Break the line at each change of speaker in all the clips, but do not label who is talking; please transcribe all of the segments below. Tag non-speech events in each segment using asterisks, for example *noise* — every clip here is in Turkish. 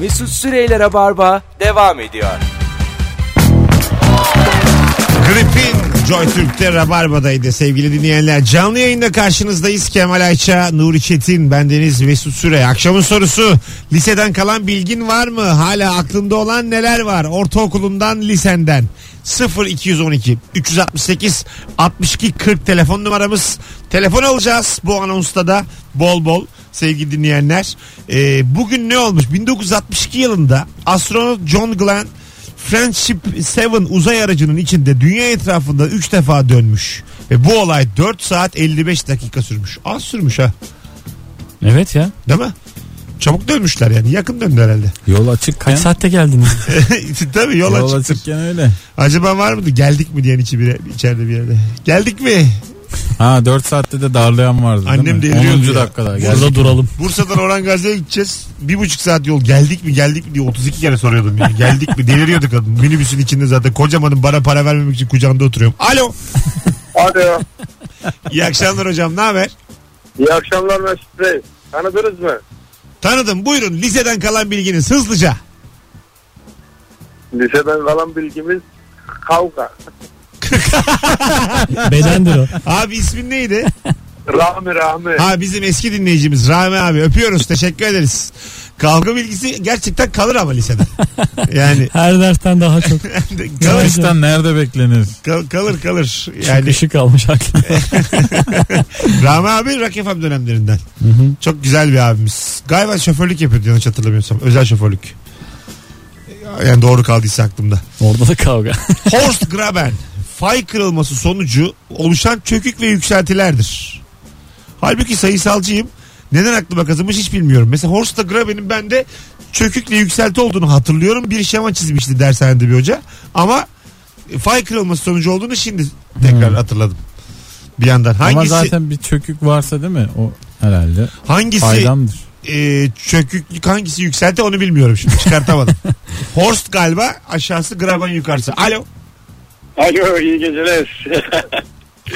Mesut Süreyler'e barba devam ediyor.
Gripin Joy Türk'te Rabarba'daydı sevgili dinleyenler. Canlı yayında karşınızdayız. Kemal Ayça, Nuri Çetin, bendeniz Mesut Süre. Akşamın sorusu liseden kalan bilgin var mı? Hala aklında olan neler var? Ortaokulundan, lisenden. 0 212 368 62 40 telefon numaramız. Telefon alacağız bu anonsta da bol bol sevgili dinleyenler. Ee, bugün ne olmuş? 1962 yılında astronot John Glenn Friendship 7 uzay aracının içinde dünya etrafında 3 defa dönmüş. Ve bu olay 4 saat 55 dakika sürmüş. Az sürmüş ha.
Evet ya.
Değil mi? Çabuk dönmüşler yani. Yakın döndü herhalde. *laughs*
Yol açık
Kaç
ya.
saatte geldiniz?
Tabii yol,
Yol
açıktır.
açıkken öyle.
Acaba var mıydı? Geldik mi diyen içi bir, içeride bir yerde. Geldik mi?
Ha 4 saatte de darlayan vardı
Annem
değil mi?
deliriyordu
10.
ya.
dakikada geldi.
Burada duralım.
Bursa'dan Orhan Gazi'ye gideceğiz. Bir buçuk saat yol geldik mi geldik mi diye 32 kere soruyordum. Yani. Geldik mi deliriyordu kadın. Minibüsün içinde zaten kocamanın bana para vermemek için kucağında oturuyorum. Alo.
Alo.
İyi akşamlar hocam ne haber?
İyi akşamlar Mesut Bey. Tanıdınız mı?
Tanıdım buyurun liseden kalan bilginiz hızlıca.
Liseden kalan bilgimiz kavga.
Bedendir o.
Abi ismin neydi?
Rahmi Rahmi.
Ha bizim eski dinleyicimiz Rami abi öpüyoruz teşekkür ederiz. Kavga bilgisi gerçekten kalır ama lisede. Yani
Her dersten
*laughs*
daha çok.
kalır
Kıraçtan nerede beklenir?
kal- kalır kalır. Yani
Yani. Işık almış aklım.
Rami abi Rock FM dönemlerinden. Çok güzel bir abimiz. Galiba şoförlük yapıyordu yanlış hatırlamıyorsam. Özel şoförlük. Yani doğru kaldıysa aklımda.
Orada
*laughs*
da kavga.
Horst Graben fay kırılması sonucu oluşan çökük ve yükseltilerdir. Halbuki sayısalcıyım. Neden aklıma kazınmış hiç bilmiyorum. Mesela Horst Graben'in bende çökükle yükselti olduğunu hatırlıyorum. Bir şema çizmişti dershanede bir hoca. Ama fay kırılması sonucu olduğunu şimdi tekrar hatırladım. Bir yandan
Hmm. Ama
hangisi
zaten bir çökük varsa değil mi? O herhalde
hangisi
faydandır.
e, çöküklük hangisi yükselti onu bilmiyorum şimdi
*laughs*
çıkartamadım. Horst galiba aşağısı Graben yukarısı. Alo.
Alo iyi geceler.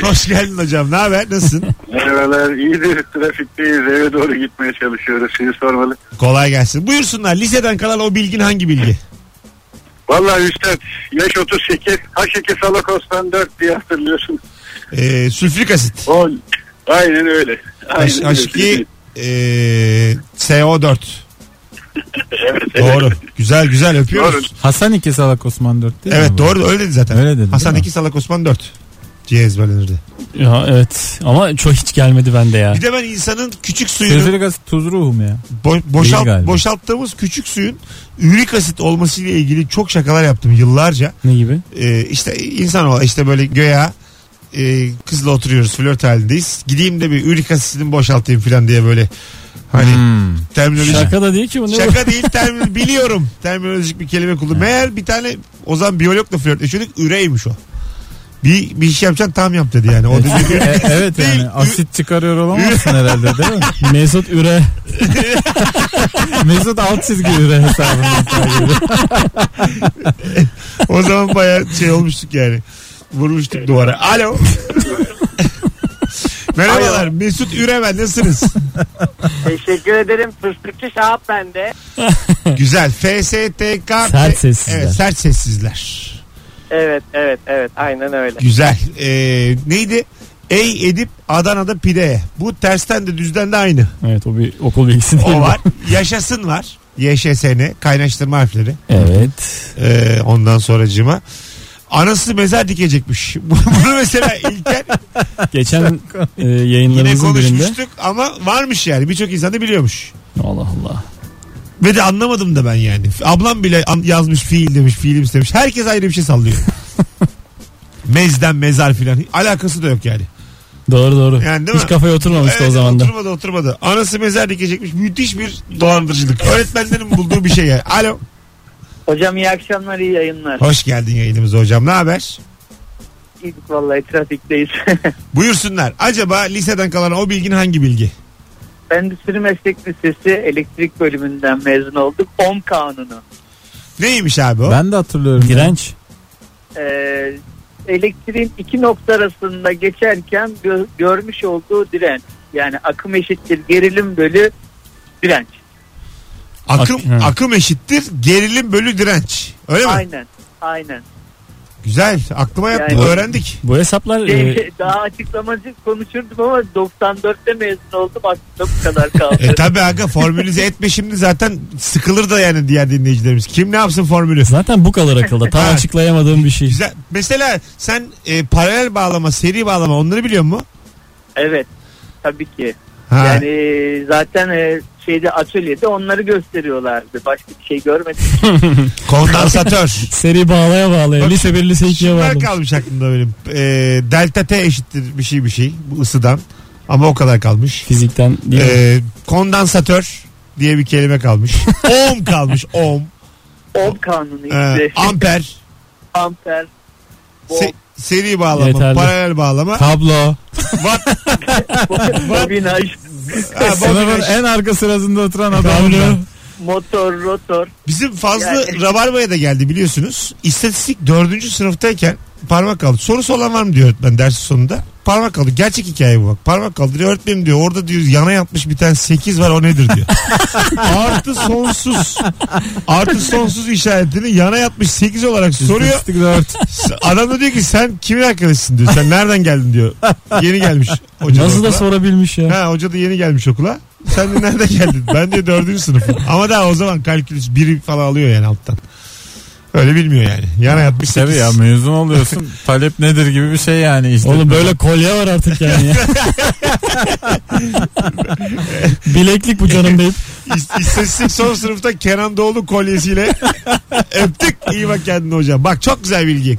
Hoş geldin hocam. Ne haber? Nasılsın?
*laughs* Merhabalar iyidir trafikteyiz eve doğru gitmeye çalışıyoruz sizi sormalı.
Kolay gelsin. Buyursunlar. Liseden kalan o bilgin hangi bilgi?
Vallahi Üstad yaş 38 H2 salakostan 4 diye hatırlıyorsun.
Ee, sülfürik asit.
O, aynen öyle.
H-
Aynen
H2 ee, SO4.
Evet, evet.
Doğru. Güzel güzel öpüyoruz.
Hasan 2 Salak Osman 4 değil mi?
Evet doğru öyle dedi zaten.
Öyle dedi,
Hasan
değil mi?
2 Salak Osman 4 diye ezberlenirdi.
ya evet. Ama çok hiç gelmedi bende ya.
Bir de ben insanın küçük suyunu
Sözlülük asit tuz ruhu mu ya?
Bo- boşalt-
galiba.
boşalttığımız küçük suyun ürik asit olmasıyla ilgili çok şakalar yaptım yıllarca.
Ne gibi?
Ee, işte insan o işte böyle göya e, kızla oturuyoruz flört halindeyiz. Gideyim de bir ürik asitini boşaltayım falan diye böyle hani
Hmm.
terminoloji. Şaka.
Şaka da değil ki bunu.
değil termin biliyorum terminolojik bir kelime kullan. Meğer bir tane o zaman biyologla flörtleşiyorduk üreymiş o. Bir, bir iş yapacaksın tam yap dedi yani. O da bir-
E, *laughs* evet
Değil. *laughs*
yani asit çıkarıyor olamazsın herhalde *laughs* değil mi?
Mesut Üre.
Mesut alt çizgi üre
*laughs*
hesabını.
o zaman bayağı şey olmuştuk yani. Vurmuştuk duvara. Alo. Merhabalar. Mesut Üremen nasılsınız?
Teşekkür ederim. Fıstıkçı Şahap bende.
Güzel. FSTK.
Sert sessizler.
Evet, sert sessizler.
Evet evet evet aynen öyle.
Güzel. Ee, neydi? Ey Edip Adana'da pideye. Bu tersten de düzden de aynı.
Evet o bir okul bilgisi değil.
O
mi?
var. Yaşasın var. YŞSN. Kaynaştırma harfleri. *laughs*
Evet.
Ee, ondan sonracığıma. Anası mezar dikecekmiş. *laughs* Bunu mesela İlker
Geçen e,
yine
yayınlarımızın birinde.
konuşmuştuk ama varmış yani. Birçok insan da biliyormuş.
Allah Allah.
Ve de anlamadım da ben yani. Ablam bile an- yazmış fiil demiş, fiilim istemiş. Herkes ayrı bir şey sallıyor. Mezden mezar filan. Alakası da yok yani.
Doğru doğru.
Yani değil
hiç
mi?
kafaya oturmamıştı
Evet,
o zaman da.
Oturmadı oturmadı. Anası mezar dikecekmiş. Müthiş bir dolandırıcılık. Öğretmenlerin bulduğu bir şey yani. Alo.
Hocam iyi akşamlar iyi yayınlar.
Hoş geldin yayınımıza hocam. Ne haber?
İyiydik vallahi trafikteyiz. *laughs*
Buyursunlar. Acaba liseden kalan o bilgin hangi bilgi?
Endüstri Meslek Lisesi elektrik bölümünden mezun olduk. OM kanunu.
Neymiş abi o?
Ben de hatırlıyorum. ya.
Direnç.
Ee, elektriğin iki nokta arasında geçerken gö- görmüş olduğu direnç. Yani akım eşittir gerilim bölü direnç.
Akım
Ak- ha.
akım eşittir gerilim bölü direnç. Öyle mi?
Aynen. Aynen.
Güzel. Aklıma yattı.
Yani-
Öğrendik.
Bu hesaplar e,
Şey, daha açıklamacı konuşurdum ama 94'te mezun oldum aklımda bu kadar
*laughs*
kaldı.
E tabi aga
*laughs*
formülüze etme şimdi zaten sıkılır da yani diğer dinleyicilerimiz. Kim ne yapsın formülü?
zaten bu kadar akılda. Tam
Ha.
açıklayamadığım bir şey.
Güzel. Mesela sen e, paralel bağlama, seri bağlama onları biliyor musun?
evet. Tabii ki.
Ha.
Yani e, zaten e, şeyde atölyede onları gösteriyorlardı. Başka bir şey görmedim. *laughs*
Kondansatör.
Seri bağlaya bağlaya.
Bak,
Lise 1, lise 2'ye
Şunlar
bağladım.
kalmış aklımda benim. E, delta T eşittir bir şey bir şey. Bu ısıdan. Ama o kadar kalmış.
Fizikten değil
Ee,
mi?
E, kondansatör diye bir kelime kalmış. ohm kalmış. Ohm.
Ohm
E,
kanunu işte.
amper.
amper. Volt.
Se- seri bağlama,
Yeterli.
paralel bağlama.
Kablo.
Watt.
Bobinaj.
Ha,
Sınıfın
bobinaj.
en arka sırasında oturan adam.
Kablo.
Motor, rotor.
Bizim fazla
Yani-
Rabarba'ya da geldi biliyorsunuz. İstatistik dördüncü sınıftayken parmak kaldı. Sorusu olan var mı diyor öğretmen dersin sonunda. Parmak kaldı. Gerçek hikaye bu bak. Parmak kaldırıyor öğretmenim diyor. Orada diyor yana yapmış bir tane 8 var o nedir diyor. artı sonsuz. Artı sonsuz işaretini yana yapmış 8 olarak soruyor.
İstatistik dört.
Adam da diyor ki sen kimin arkadaşısın diyor. Sen nereden geldin diyor. Yeni gelmiş. hoca
Nasıl da
okula.
sorabilmiş ya.
Ha hoca da yeni gelmiş okula. Sen de nerede
*laughs*
geldin? Ben de dördüncü sınıfım. Ama daha o zaman kalkülüs biri falan alıyor yani alttan. Öyle bilmiyor yani. Yana yatmış
Tabii
sekiz.
ya mezun oluyorsun. Talep nedir gibi bir şey yani işte.
Oğlum böyle kolye var artık yani.
*laughs*
ya. Bileklik bu canım
*laughs*
deyip.
İst- İstatistik son sınıfta Kenan Doğulu kolyesiyle
*laughs*
öptük. İyi bak kendine hocam. Bak çok güzel bilgi.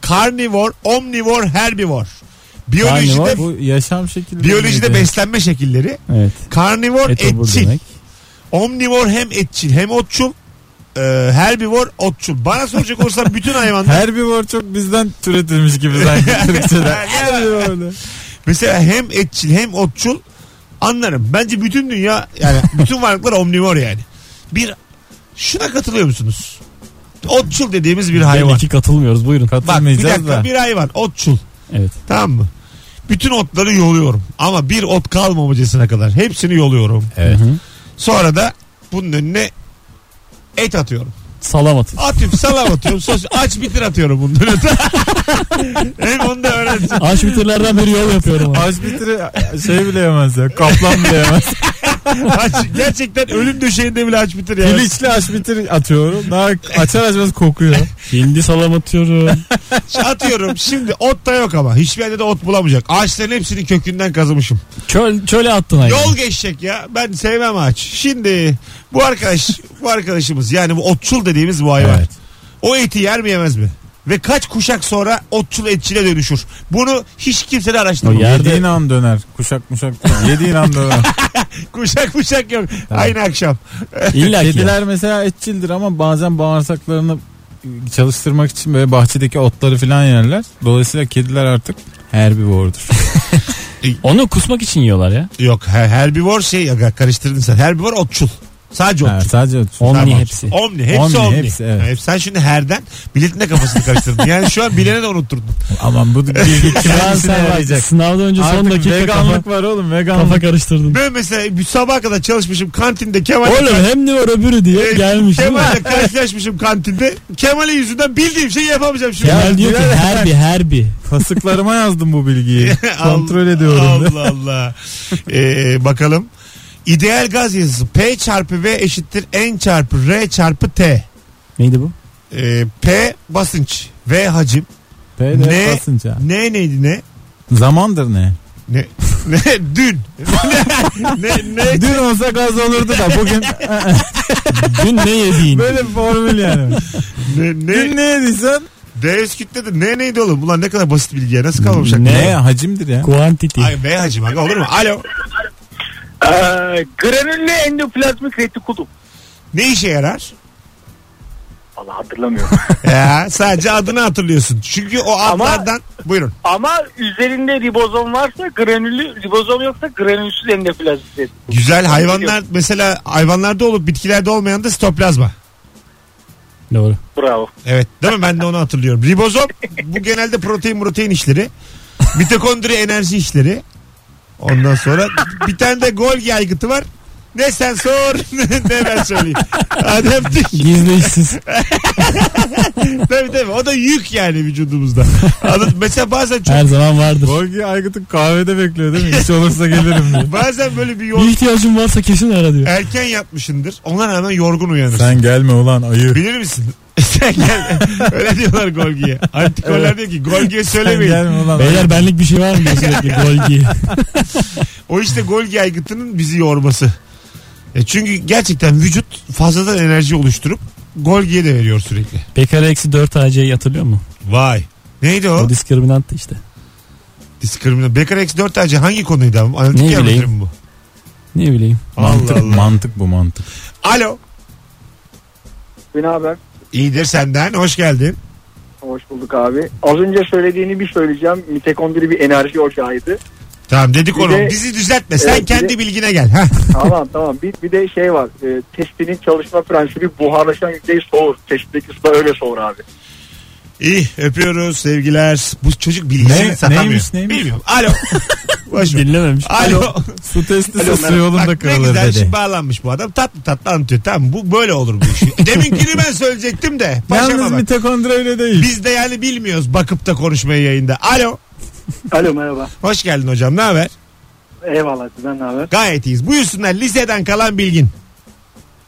Karnivor, omnivor, herbivor. Biyolojide
Karnivor, bu yaşam şekli.
biyolojide
miydi?
beslenme şekilleri.
Evet.
Karnivor
Etobur
etçil.
demek.
Omnivor hem etçil hem otçul. Ee, herbivor otçul. Bana soracak olursan bütün hayvanlar
Herbivor çok bizden türetilmiş gibi sanki
*laughs*
Türkçe'de. Herbivor.
Mesela hem etçil hem otçul anlarım. Bence bütün dünya
*laughs*
yani bütün varlıklar omnivor yani. Bir şuna katılıyor musunuz? Otçul dediğimiz bir hayvan.
Hayvan. iki katılmıyoruz buyurun.
Bak bir
Katılmayacağız
dakika
da.
bir hayvan otçul
Evet.
tamam mı? Bütün otları yoluyorum ama bir ot kalmamacasına kadar hepsini yoluyorum.
Evet.
Sonra da bunun önüne et atıyorum.
Salamat.
Atıp salam
*laughs*
atıyorum. Sos, aç bitir atıyorum bunun önüne. *laughs* Hem onu da öğrensin.
Aç bitirlerden bir yol
*laughs*
yapıyorum. abi.
Aç bitiri şey bile yemez ya. Kaplan bile yemez.
*laughs*
Aç, gerçekten ölüm döşeğinde bile aç bitir yani.
Piliçli aç bitir atıyorum. Daha açar açmaz kokuyor.
Hindi salam atıyorum.
Atıyorum şimdi ot da yok ama. Hiçbir yerde de ot bulamayacak. Ağaçların hepsini kökünden kazımışım.
Çöl, çöle attın hayvan.
Yol geçecek ya. Ben sevmem ağaç. Şimdi bu arkadaş bu arkadaşımız yani bu otçul dediğimiz bu hayvan.
Evet.
O eti yer mi yemez mi? Ve kaç kuşak sonra otçul etçile dönüşür. Bunu hiç kimse de araştırmıyor.
*laughs* O yer- Yerde-
Yediğin an döner. Kuşak muşak. değil. Yediğin an
*laughs*
döner.
*laughs* Kuşak kuşak yok.
Tamam.
Aynı akşam.
İlla ki. ya.
Kediler mesela etçildir ama bazen bağırsaklarını çalıştırmak için böyle bahçedeki otları falan yerler. Dolayısıyla kediler artık herbivordur.
Onu kusmak için yiyorlar ya.
Yok her, herbivor şey aga, karıştırdın sen. Herbivor otçul. Sadece otçul.
Ha, sadece ot.
Omni
Tamam.
hepsi.
Omni hepsi
Omni,
omni.
hepsi, evet.
Yani sen şimdi herden biletin de kafasını karıştırdın. Yani şu an bilene de unutturdun.
*laughs*
Aman bu *laughs* bilgi kime
Şu an
işine
sen bak,
yarayacak?
sınavdan önce son
Artık
dakika kafa,
veganlık var oğlum veganlık.
kafa karıştırdın.
Ben mesela bir sabaha kadar çalışmışım kantinde Kemal
Oğlum hem ne var öbürü diye
Ee,
Evet,
gelmiş değil mi?
Kemal'le karşılaşmışım kantinde. Kemal'in yüzünden bildiğim şeyi yapamayacağım şimdi.
Kemal diyor ki
Bilal-
herbi herbi.
Kasıklarıma yazdım bu *laughs* bilgiyi.
Allah-
Kontrol ediyorum.
Allah Allah. Ee, bakalım. İdeal gaz yazısı P çarpı V eşittir N çarpı R çarpı T.
Neydi bu?
Ee, P basınç. V hacim.
P de
Ne?
basınca.
N neydi ne?
Zamandır ne?
Ne? *laughs* ne? Dün. *laughs* ne? ne?
Dün olsa gaz olurdu da bugün
*laughs* Dün ne yediğin?
böyle bir formül yani.
Ne? ne?
Dün ne yediysen?
D üst kütle de ne neydi oğlum? Ulan ne kadar basit bilgi ya. Nasıl kalmamış aklımda?
Ne? Hacimdir ya.
Quantity.
Ay V hacim aga olur mu? Alo.
Ee, granüllü endoplazmik retikulum.
Ne işe yarar?
Allah
*laughs*
hatırlamıyorum.
Ya, sadece adını hatırlıyorsun. Çünkü o adlardan buyurun.
Ama üzerinde ribozom varsa granüllü, ribozom yoksa granülsüz endoplazmik retikulum.
Güzel hayvanlar mesela hayvanlarda olup bitkilerde olmayan da stoplazma.
Doğru.
Bravo.
Evet değil mi? Ben de onu hatırlıyorum. Ribozom bu genelde protein protein işleri. Mitokondri enerji işleri. Ondan sonra bir tane de gol yaygıtı var. Ne sen sor *laughs* ne ben söyleyeyim. Adaptif.
Gizli işsiz.
tabii tabii. O da yük yani
*laughs*
vücudumuzda. Adam- Mesela bazen çok
Her zaman vardır.
Borgi Aygıt'ın kahvede bekliyor değil mi? İş olursa gelirim *laughs* diye.
bazen böyle bir
Bir
yol
ihtiyacın varsa kesin ara diyor.
erken yatmışındır. Ona rağmen yorgun uyanırsın.
Sen gelme ulan ayı.
Bilir misin? *laughs* Sen gel. *laughs* Öyle diyorlar Golgi'ye. Antikorlar diyor ki Golgi'ye
Sen
söylemeyin.
gelme ulan ayı.
Beyler benlik bir şey var mı diyor sürekli gol
*laughs*
giy.
O işte Golgi aygıtının bizi yorması. E çünkü gerçekten vücut fazladan enerji oluşturup Golgi'ye de veriyor sürekli.
Pekara eksi 4 AC'yi hatırlıyor mu?
Vay. Neydi o?
O diskriminanttı işte.
Diskrimine. Bekar X4 AC hangi konuydu abi?
Ne
Analitik
bileyim.
anlatırım bu.
Ne bileyim.
Mantık,
Allah Allah.
mantık bu mantık.
Alo.
Ne haber?
İyidir senden. Hoş geldin.
Hoş bulduk abi. Az önce söylediğini bir söyleyeceğim. Mitokondri bir enerji ocağıydı.
Tamam dedik
Bir
onu.
de-
Bizi düzeltme. Sen
Evet, bir
kendi
de-
bilgine gel. Heh.
tamam *laughs* tamam. Bir, bir de şey var. E, testinin çalışma prensibi buharlaşan yükleyi soğur. Testindeki ısıda öyle soğur abi.
İyi öpüyoruz sevgiler. Bu çocuk bilgisini
Ne-
satamıyor.
neymiş, neymiş?
Bilmiyorum. Alo. *laughs* Boş ver.
Dinlememiş.
Alo.
Su testi
Alo.
su yolunda
Bak ne
kırılır
güzel şey.
dedi.
şimdi bağlanmış bu adam. Tatlı tatlı anlatıyor. Tamam bu böyle olur bu *laughs* iş. Deminkini ben söyleyecektim de. Paşama
Yalnız
bak.
mitokondri öyle değil.
Biz de yani bilmiyoruz bakıp da konuşmayı yayında. Alo.
Alo merhaba.
Hoş geldin hocam. Ne haber?
Eyvallah sizden ne haber?
Gayet iyiyiz. Buyursunlar liseden kalan bilgin.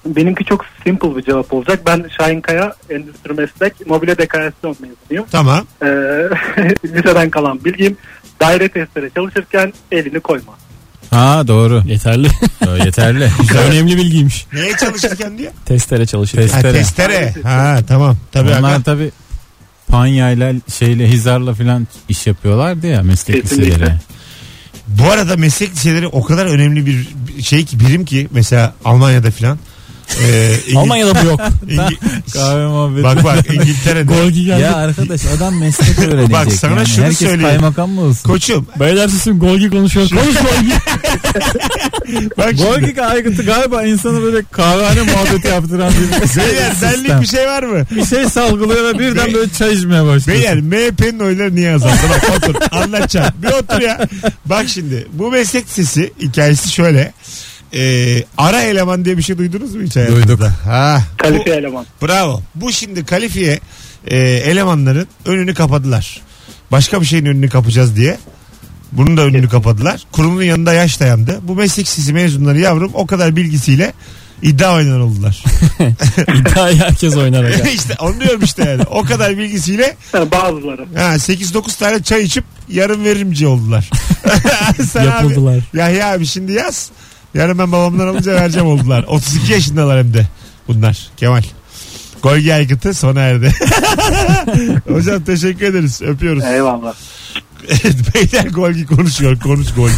Benimki çok simple bir cevap olacak. Ben Şahin Kaya, Endüstri Meslek, Mobile Dekorasyon mezunuyum.
Tamam.
Ee, *laughs* liseden kalan bilgim daire testere çalışırken elini koyma.
Ha doğru.
Yeterli.
Yo, *laughs* Yeterli.
Önemli bilgiymiş.
Neye çalışırken diyor?
Testere çalışır.
Ha,
Testere.
testere. Ha tamam. Tabii
Onlar
aga.
tabi panyayla şeyle hizarla filan iş yapıyorlardı ya meslek
Kesinlikle.
liseleri.
Bu arada meslek liseleri o kadar önemli bir şey ki birim ki mesela Almanya'da filan. Ee, İngil-
Almanya'da bu yok.
İngi-
Kahve muhabbeti.
bak bak İngiltere'de.
Gol giy geldi.
*laughs* *laughs* Ya arkadaş adam *laughs* meslek öğrenecek.
Bak sana
yani.
şunu
Herkes
söyleyeyim.
kaymakam mı olsun? *laughs*
Koçum
Beyler susun gol giy konuşuyor. Konuş gol giy.
bak şimdi.
Golgi aygıtı galiba insanı böyle kahvehane muhabbeti yaptıran bir
Beyler senlik bir şey var mı?
bir şey salgılıyor ve birden böyle çay içmeye başlıyor.
Beyler MHP'nin oyları niye azaldı? Bak otur anlatacağım. Bir otur ya. Bak şimdi bu meslek lisesi hikayesi şöyle. Ee, ara eleman diye bir şey duydunuz mu hiç hayatınızda?
Duyduk.
Ha, bu-
Kalifiye eleman.
Bravo. Bu şimdi kalifiye e, elemanların önünü kapadılar. Başka bir şeyin önünü kapacağız diye. Bunun da önünü kapadılar. Kurumun yanında yaş dayandı. Bu meslek sisi mezunları yavrum o kadar bilgisiyle iddia oynar oldular. *laughs*
İddiayı herkes oynar. aga.
işte onu diyorum işte yani. O kadar bilgisiyle
Ha, bazıları.
ha, 8-9 tane çay içip yarım verimci oldular. *laughs* Sen abi,
Yapıldılar.
Yahya abi şimdi yaz. Yarın ben babamdan alınca vereceğim oldular. 32 yaşındalar hem de bunlar. Kemal. Golgi Aygıt'ı sona erdi. *laughs* Hocam teşekkür ederiz. Öpüyoruz.
Eyvallah.
Evet, *laughs* Beyler Golgi konuşuyor. Konuş Golgi.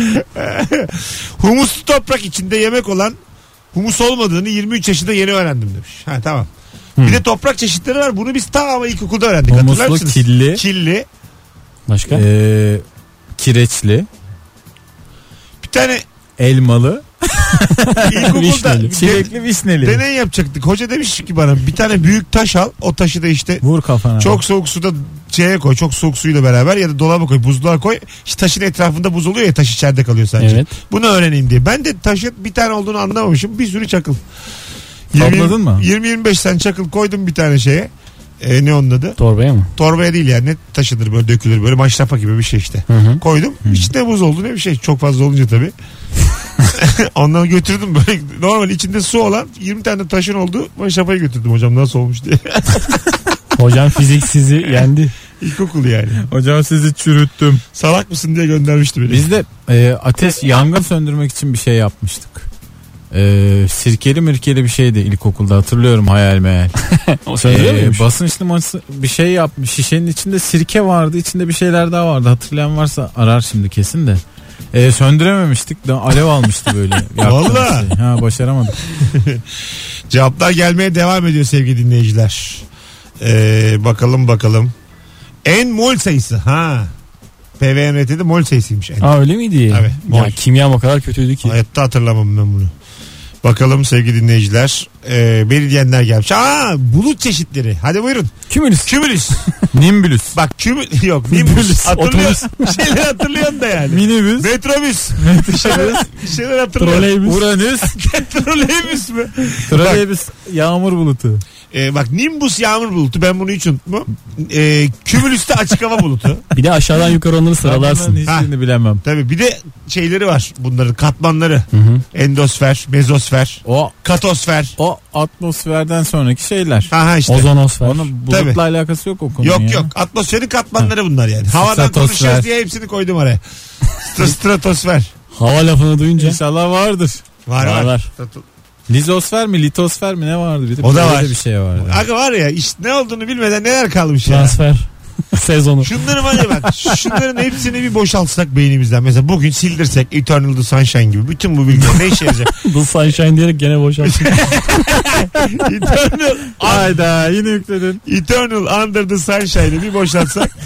*laughs* Humuslu toprak içinde yemek olan humus olmadığını 23 yaşında yeni öğrendim demiş. Ha tamam. Bir de toprak çeşitleri var. Bunu biz ta ama ilkokulda öğrendik. Hatırlar
Humuslu,
mısınız?
killi,
Killi.
Başka?
eee, Ee, kireçli,
Bir tane
elmalı,
ilkokulda
Vişneli.
çilekli, vişneli.
Deney yapacaktık. Hoca demiş ki bana bir tane büyük taş al. O taşı da işte
Vur kafana.
çok soğuk suda şeye koy. Çok soğuk suyla beraber ya da dolaba koy. Buzluğa koy. İşte taşın etrafında buz oluyor ya taş içeride kalıyor sadece.
Evet.
Bunu öğreneyim diye. Ben de taşın bir tane olduğunu anlamamışım. Bir sürü çakıl.
Topladın mı?
20-25 tane çakıl koydum bir tane şeye. E, ne onun adı?
Torbaya mı?
Torbaya değil yani. Ne taşıdır böyle dökülür. Böyle maşrafa gibi bir şey işte
Hı hı.
koydum. İçinde buz oldu ne bir şey. Çok fazla olunca
*laughs*
tabii. Ondan götürdüm böyle normal içinde su olan 20 tane taşın oldu. Maşrapayı götürdüm hocam nasıl olmuş diye. *laughs*
Hocam fizik sizi yendi.
İlkokul yani.
Hocam sizi çürüttüm.
Salak mısın diye göndermişti beni.
Biz de e, ateş yangın söndürmek için bir şey yapmıştık. E, sirkeli mirkeli bir şeydi ilkokulda hatırlıyorum hayal meyal.
O söylüyor
E,
muymuş?
basınç limonası bir şey yapmış. Şişenin içinde sirke vardı. içinde bir şeyler daha vardı. Hatırlayan varsa arar şimdi kesin de. E, söndürememiştik. Da alev almıştı böyle. yaktığımız
Valla.
şey. Ha başaramadık.
Cevaplar gelmeye devam ediyor sevgili dinleyiciler. Ee, bakalım bakalım. En mol sayısı. Ha. PVNT'de mol sayısıymış en.
Aa öyle miydi?
Tabii,
Ya
mol.
kimyam o kadar kötüydü ki.
Hayatta hatırlamam ben bunu. Bakalım sevgili dinleyiciler. E, beni diyenler gelmiş. Aa bulut çeşitleri. Hadi buyurun.
Kümülüs.
Kümülüs. *laughs*
Nimbülüs.
Bak kümülüs. *laughs* Yok nimbus.
Nimbus,
Hatırlıyorsun. Bir *laughs* şeyler hatırlıyorsun da yani.
Minibüs.
Metrobüs. *laughs* Bir şeyler, bir şeyler hatırlıyorsun. *laughs*
Troleybüs.
Uranüs.
Troleybüs mü?
Troleybüs. Yağmur bulutu.
E, bak nimbus yağmur bulutu. Ben bunu hiç unutmam. E, kümülüs de açık hava bulutu.
Bir de aşağıdan yukarı onları
Bunların
sıralarsın.
hiçbirini bilemem.
Tabii bir de şeyleri var bunların katmanları. Endosfer, mezosfer,
O
katosfer.
o atmosferden sonraki şeyler.
Ha ha işte.
Ozonosfer.
Onun bulutla
Tabii.
alakası yok o konunun
Yok
ya.
yok. Atmosferin katmanları bunlar yani. Havadan
Stratosfer.
konuşacağız diye hepsini koydum oraya. St- Stratosfer.
Hava lafını duyunca.
İnşallah vardır.
Var var.
Var, var.
Strato-
Lizosfer mi litosfer mi ne vardı bir de
O da
böyle
var.
de bir şey vardı.
Aga var ya işte ne olduğunu bilmeden neler kalmış ya.
Transfer. *laughs* Sezonu.
Şunları var ya bak. Şunların hepsini bir boşaltsak beynimizden. Mesela bugün sildirsek Eternal The Sunshine gibi. Bütün bu bilgiler ne işe yarayacak?
*laughs* The Sunshine diyerek gene boşalttık.
Eternal,
Hayda yine yükledin.
Eternal Under The Sunshine'ı bir boşaltsak.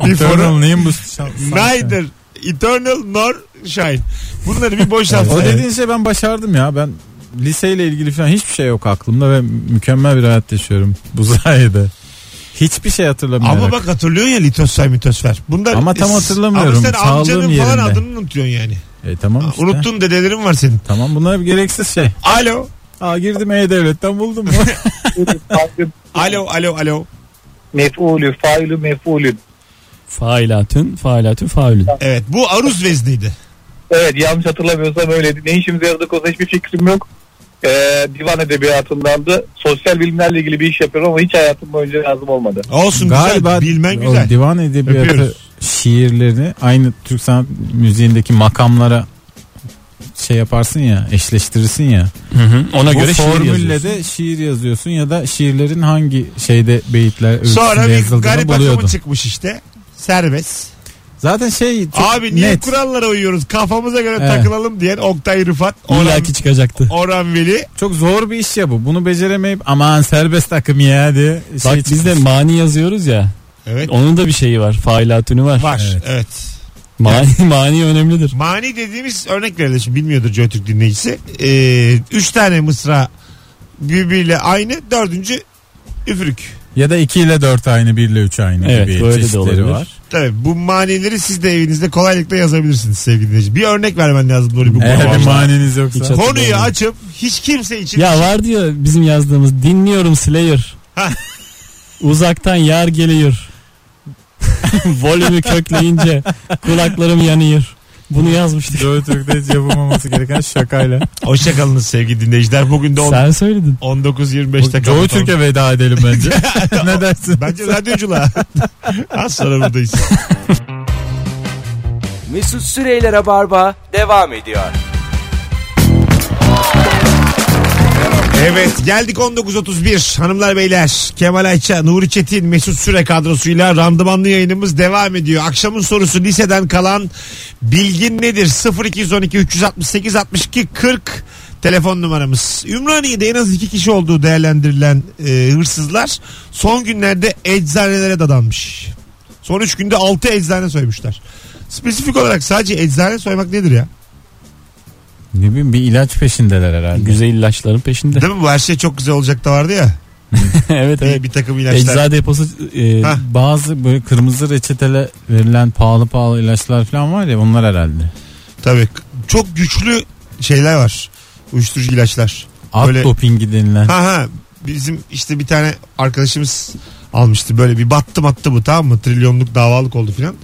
Eternal
Eternal
Nimbus.
Neither Eternal nor Shine. Bunları bir boşaltsak.
O dediğin şey ben başardım ya. Ben liseyle ilgili falan hiçbir şey yok aklımda ve mükemmel bir hayat yaşıyorum bu *laughs* sayede. Hiçbir şey hatırlamıyorum.
Ama bak hatırlıyorsun ya litosfer mitosfer. Bunlar,
Ama tam hatırlamıyorum.
Ama sen
Sağlığım
amcanın falan
yerinde.
adını unutuyorsun yani.
E tamam işte.
Unuttuğun dedelerin var senin.
Tamam bunlar bir gereksiz şey.
Alo.
Aa girdim E-Devlet'ten buldum.
*laughs*
*laughs*
Alo alo alo.
Mef'ulü, failü, mef'ulü.
Failatün, failatün, faulün.
Evet bu aruz vezniydi.
Evet yanlış hatırlamıyorsam öyleydi. Ne işimize yaradı konuda hiçbir fikrim yok. Ee, divan edebiyatındandı. Sosyal bilimlerle ilgili bir iş yapıyorum ama hiç hayatım boyunca lazım olmadı.
Olsun
Galiba
güzel. Bilmen
o
güzel.
divan edebiyatı
Öpüyoruz.
şiirlerini aynı Türk sanat müziğindeki makamlara şey yaparsın ya eşleştirirsin ya.
Ona
Bu
göre şiir
formülle
yazıyorsun.
de şiir yazıyorsun ya da şiirlerin hangi şeyde beyitler
Sonra
ölçüsünde
bir
yazıldığını
garip akımı
buluyordun.
çıkmış işte. Serbest.
Zaten şey çok
Abi niye
net.
kurallara uyuyoruz kafamıza göre
Evet.
takılalım diyen Oktay Rıfat, Orhan,
İlla ki çıkacaktı.
Orhan Veli.
Çok zor bir iş ya bu. Bunu beceremeyip aman serbest akım ya diye şey
Bak
çıkmış.
biz de mani yazıyoruz ya.
Evet
Onun da bir şeyi var. Failatünü var.
var.
Evet.
evet.
Mani, *laughs* mani önemlidir.
Mani dediğimiz örnek verelim şimdi bilmiyordur Joytürk dinleyicisi. Ee, üç tane mısra birbiriyle aynı dördüncü üfürük.
Ya da 2 ile 4 aynı 1 ile 3 aynı
Evet,
gibi
böyle de
çeşitleri
olabilir.
var.
Tabii bu manileri siz de evinizde kolaylıkla yazabilirsiniz sevgili dinleyici. Bir örnek vermen lazım Nuri bu
Eğer bir
konuda.
maniniz
Hiç
yoksa.
hatırlamıyorum.
Konuyu açıp hiç kimse için
Ya var diyor bizim yazdığımız dinliyorum Slayer.
Ha.
*laughs* Uzaktan yar geliyor. *laughs* Volümü kökleyince kulaklarım yanıyor. Bunu yazmıştık.
Joy Türk'te hiç yapılmaması gereken şakayla.
hoşçakalınız sevgili dinleyiciler. Bugün de on-
Sen söyledin.
19.25'te
Joy
kapatalım.
Türk'e veda edelim
*laughs*
bence. ne dersin?
Bence radyoculuğa. Az sonra buradayız.
Mesut Süreyler'e barba devam ediyor.
Evet geldik 19.31 hanımlar beyler Kemal Ayça, Nuri Çetin, Mesut Süre kadrosuyla randımanlı yayınımız devam ediyor. Akşamın sorusu liseden kalan bilgin nedir? 0212 368 62 40 telefon numaramız. Ümraniye'de en az iki kişi olduğu değerlendirilen e, hırsızlar son günlerde eczanelere dadanmış. Son üç günde 6 eczane soymuşlar. Spesifik olarak sadece eczane soymak nedir ya?
Ne bileyim bir ilaç peşindeler herhalde.
Güzel ilaçların peşinde. *laughs*
Değil mi bu her şey çok güzel olacak da vardı ya.
evet evet.
Bir, bir takım ilaçlar.
Eczacı deposu e,
Ha.
Bazı böyle kırmızı reçetele verilen pahalı pahalı ilaçlar falan var ya onlar herhalde.
Tabii. Çok güçlü şeyler var. Uyuşturucu ilaçlar.
At
Böyle-
dopingi denilen.
Ha ha. Bizim işte bir tane arkadaşımız almıştı böyle bir battı battı bu tamam mı? Trilyonluk davalık oldu filan.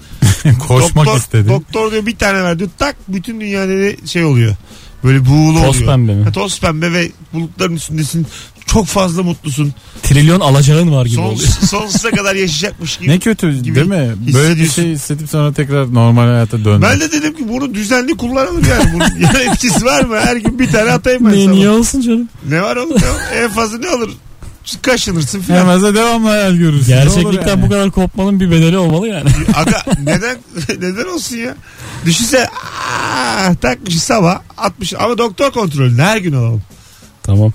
Koşmak
doktor,
istedi.
Doktor diyor bir tane ver diyor. Tak bütün dünyada ne şey oluyor. Böyle buğulu *laughs*
Toz
oluyor.
pembe
*laughs*
mi?
Ha, toz pembe ve bulutların üstündesin. Çok fazla mutlusun.
Trilyon alacağın var gibi
Son, *laughs*
oluyor.
sonsuza kadar yaşayacakmış gibi.
ne kötü
gibi
değil mi? Böyle bir
hissediyorsun.
şey hissedip sonra tekrar normal hayata döndü.
Ben de dedim ki bunu düzenli kullanalım yani. Bunun *laughs* yani etkisi var mı? Her gün bir tane atayım ben
Ne,
sabah.
niye olsun canım?
Ne var oğlum? Ne var?
*laughs*
en fazla ne olur? Kaşınırsın filan.
Hemen de devamlı hayal görürsün.
Gerçeklikten bu kadar kopmanın bir bedeli olmalı yani. *laughs*
Aga neden *laughs* neden olsun ya? Düşünse aa, takmış sabah 60 ama doktor kontrolünde her gün olalım.
tamam.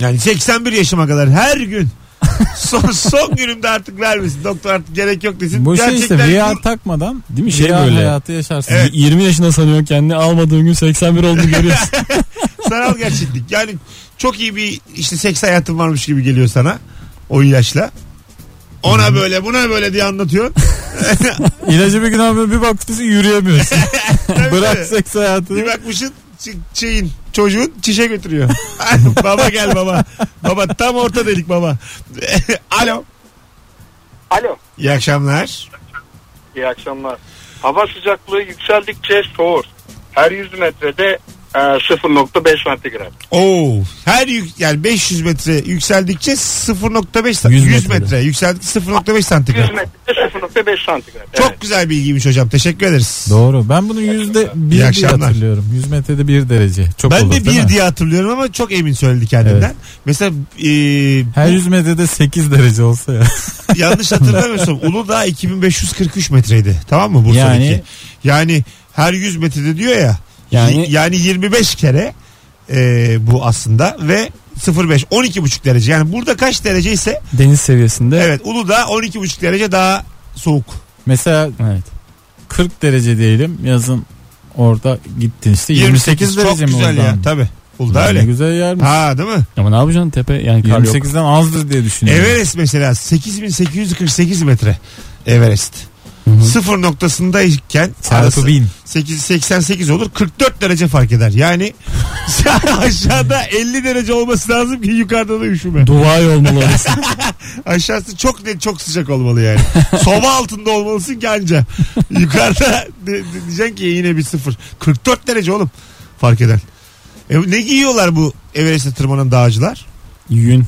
Yani 81 yaşıma kadar her gün. *laughs* son, son günümde artık vermesin. Doktor artık gerek yok desin.
Bu şey işte
dur.
VR takmadan
Değil mi? Şey
VR
böyle.
hayatı yaşarsın.
Evet. *laughs*
Y- 20 yaşında sanıyorsun kendini almadığın gün 81 olduğunu görüyorsun.
Sanal gerçeklik. Yani çok iyi bir işte seks hayatın varmış gibi geliyor sana o yaşla. Ona böyle buna böyle diye
*laughs*
anlatıyorsun.
İlacı bir gün abi bir bakmışsın yürüyemiyorsun. Bırak seks hayatını.
Bir bakmışsın çi- şeyin çocuğun çişe götürüyor. *laughs* baba gel baba. Baba tam orta delik baba. *laughs* Alo.
Alo.
İyi akşamlar.
İyi akşamlar. Hava sıcaklığı yükseldikçe soğur. Her 100 metrede e, 0.5 santigrat.
Oo, her yük, yani 500 metre yükseldikçe 0.5 san- 100,
100
metre.
metrede.
yükseldikçe 0.5 santigrat.
100 metrede 0.5 santigrat.
Çok
Evet.
güzel bilgiymiş hocam. Teşekkür ederiz.
Doğru. Ben bunu yüzde bir diye
akşamlar.
hatırlıyorum. 100 metrede bir derece. Çok
Ben
olur,
de
değil mi?
bir diye hatırlıyorum ama çok emin söyledi kendinden.
Evet.
Mesela e,
Her 100 metrede 8 derece olsa ya. *laughs*
yanlış hatırlamıyorsam Uludağ 2543 metreydi. Tamam mı Bursa'daki? Yani,
Yani-
her 100 metrede diyor ya. Yani,
Yani-
yani 25 kere e, bu aslında ve 0.5 12.5 derece. Yani burada kaç derece ise
Deniz seviyesinde.
evet Uludağ 12.5 derece daha soğuk.
Mesela
Evet.
40 derece diyelim yazın orada gittin işte 28,
çok
derece mi
güzel
oradan?
ya. Tabii. Uludağ
Ne
öyle.
güzel yer mi?
Ha değil mi?
Ama ne yapacaksın tepe yani kar yok.
28'den azdır diye düşünüyorum.
Everest mesela 8848 metre Everest.
Hı hı.
Sıfır noktasındayken
Çarpı
arası
bin.
8, 88 olur 44 derece fark eder. Yani *laughs* aşağıda 50 derece olması lazım ki yukarıda da üşüme.
Duvay olmalı
*laughs*
orası.
Aşağısı çok net çok sıcak olmalı
*laughs*
yani. Soba altında olmalısın ki anca. Yukarıda de- de- diyeceksin ki yine bir sıfır. 44 derece oğlum fark eden. E, ne giyiyorlar bu Everest'e tırmanan dağcılar?
Yün.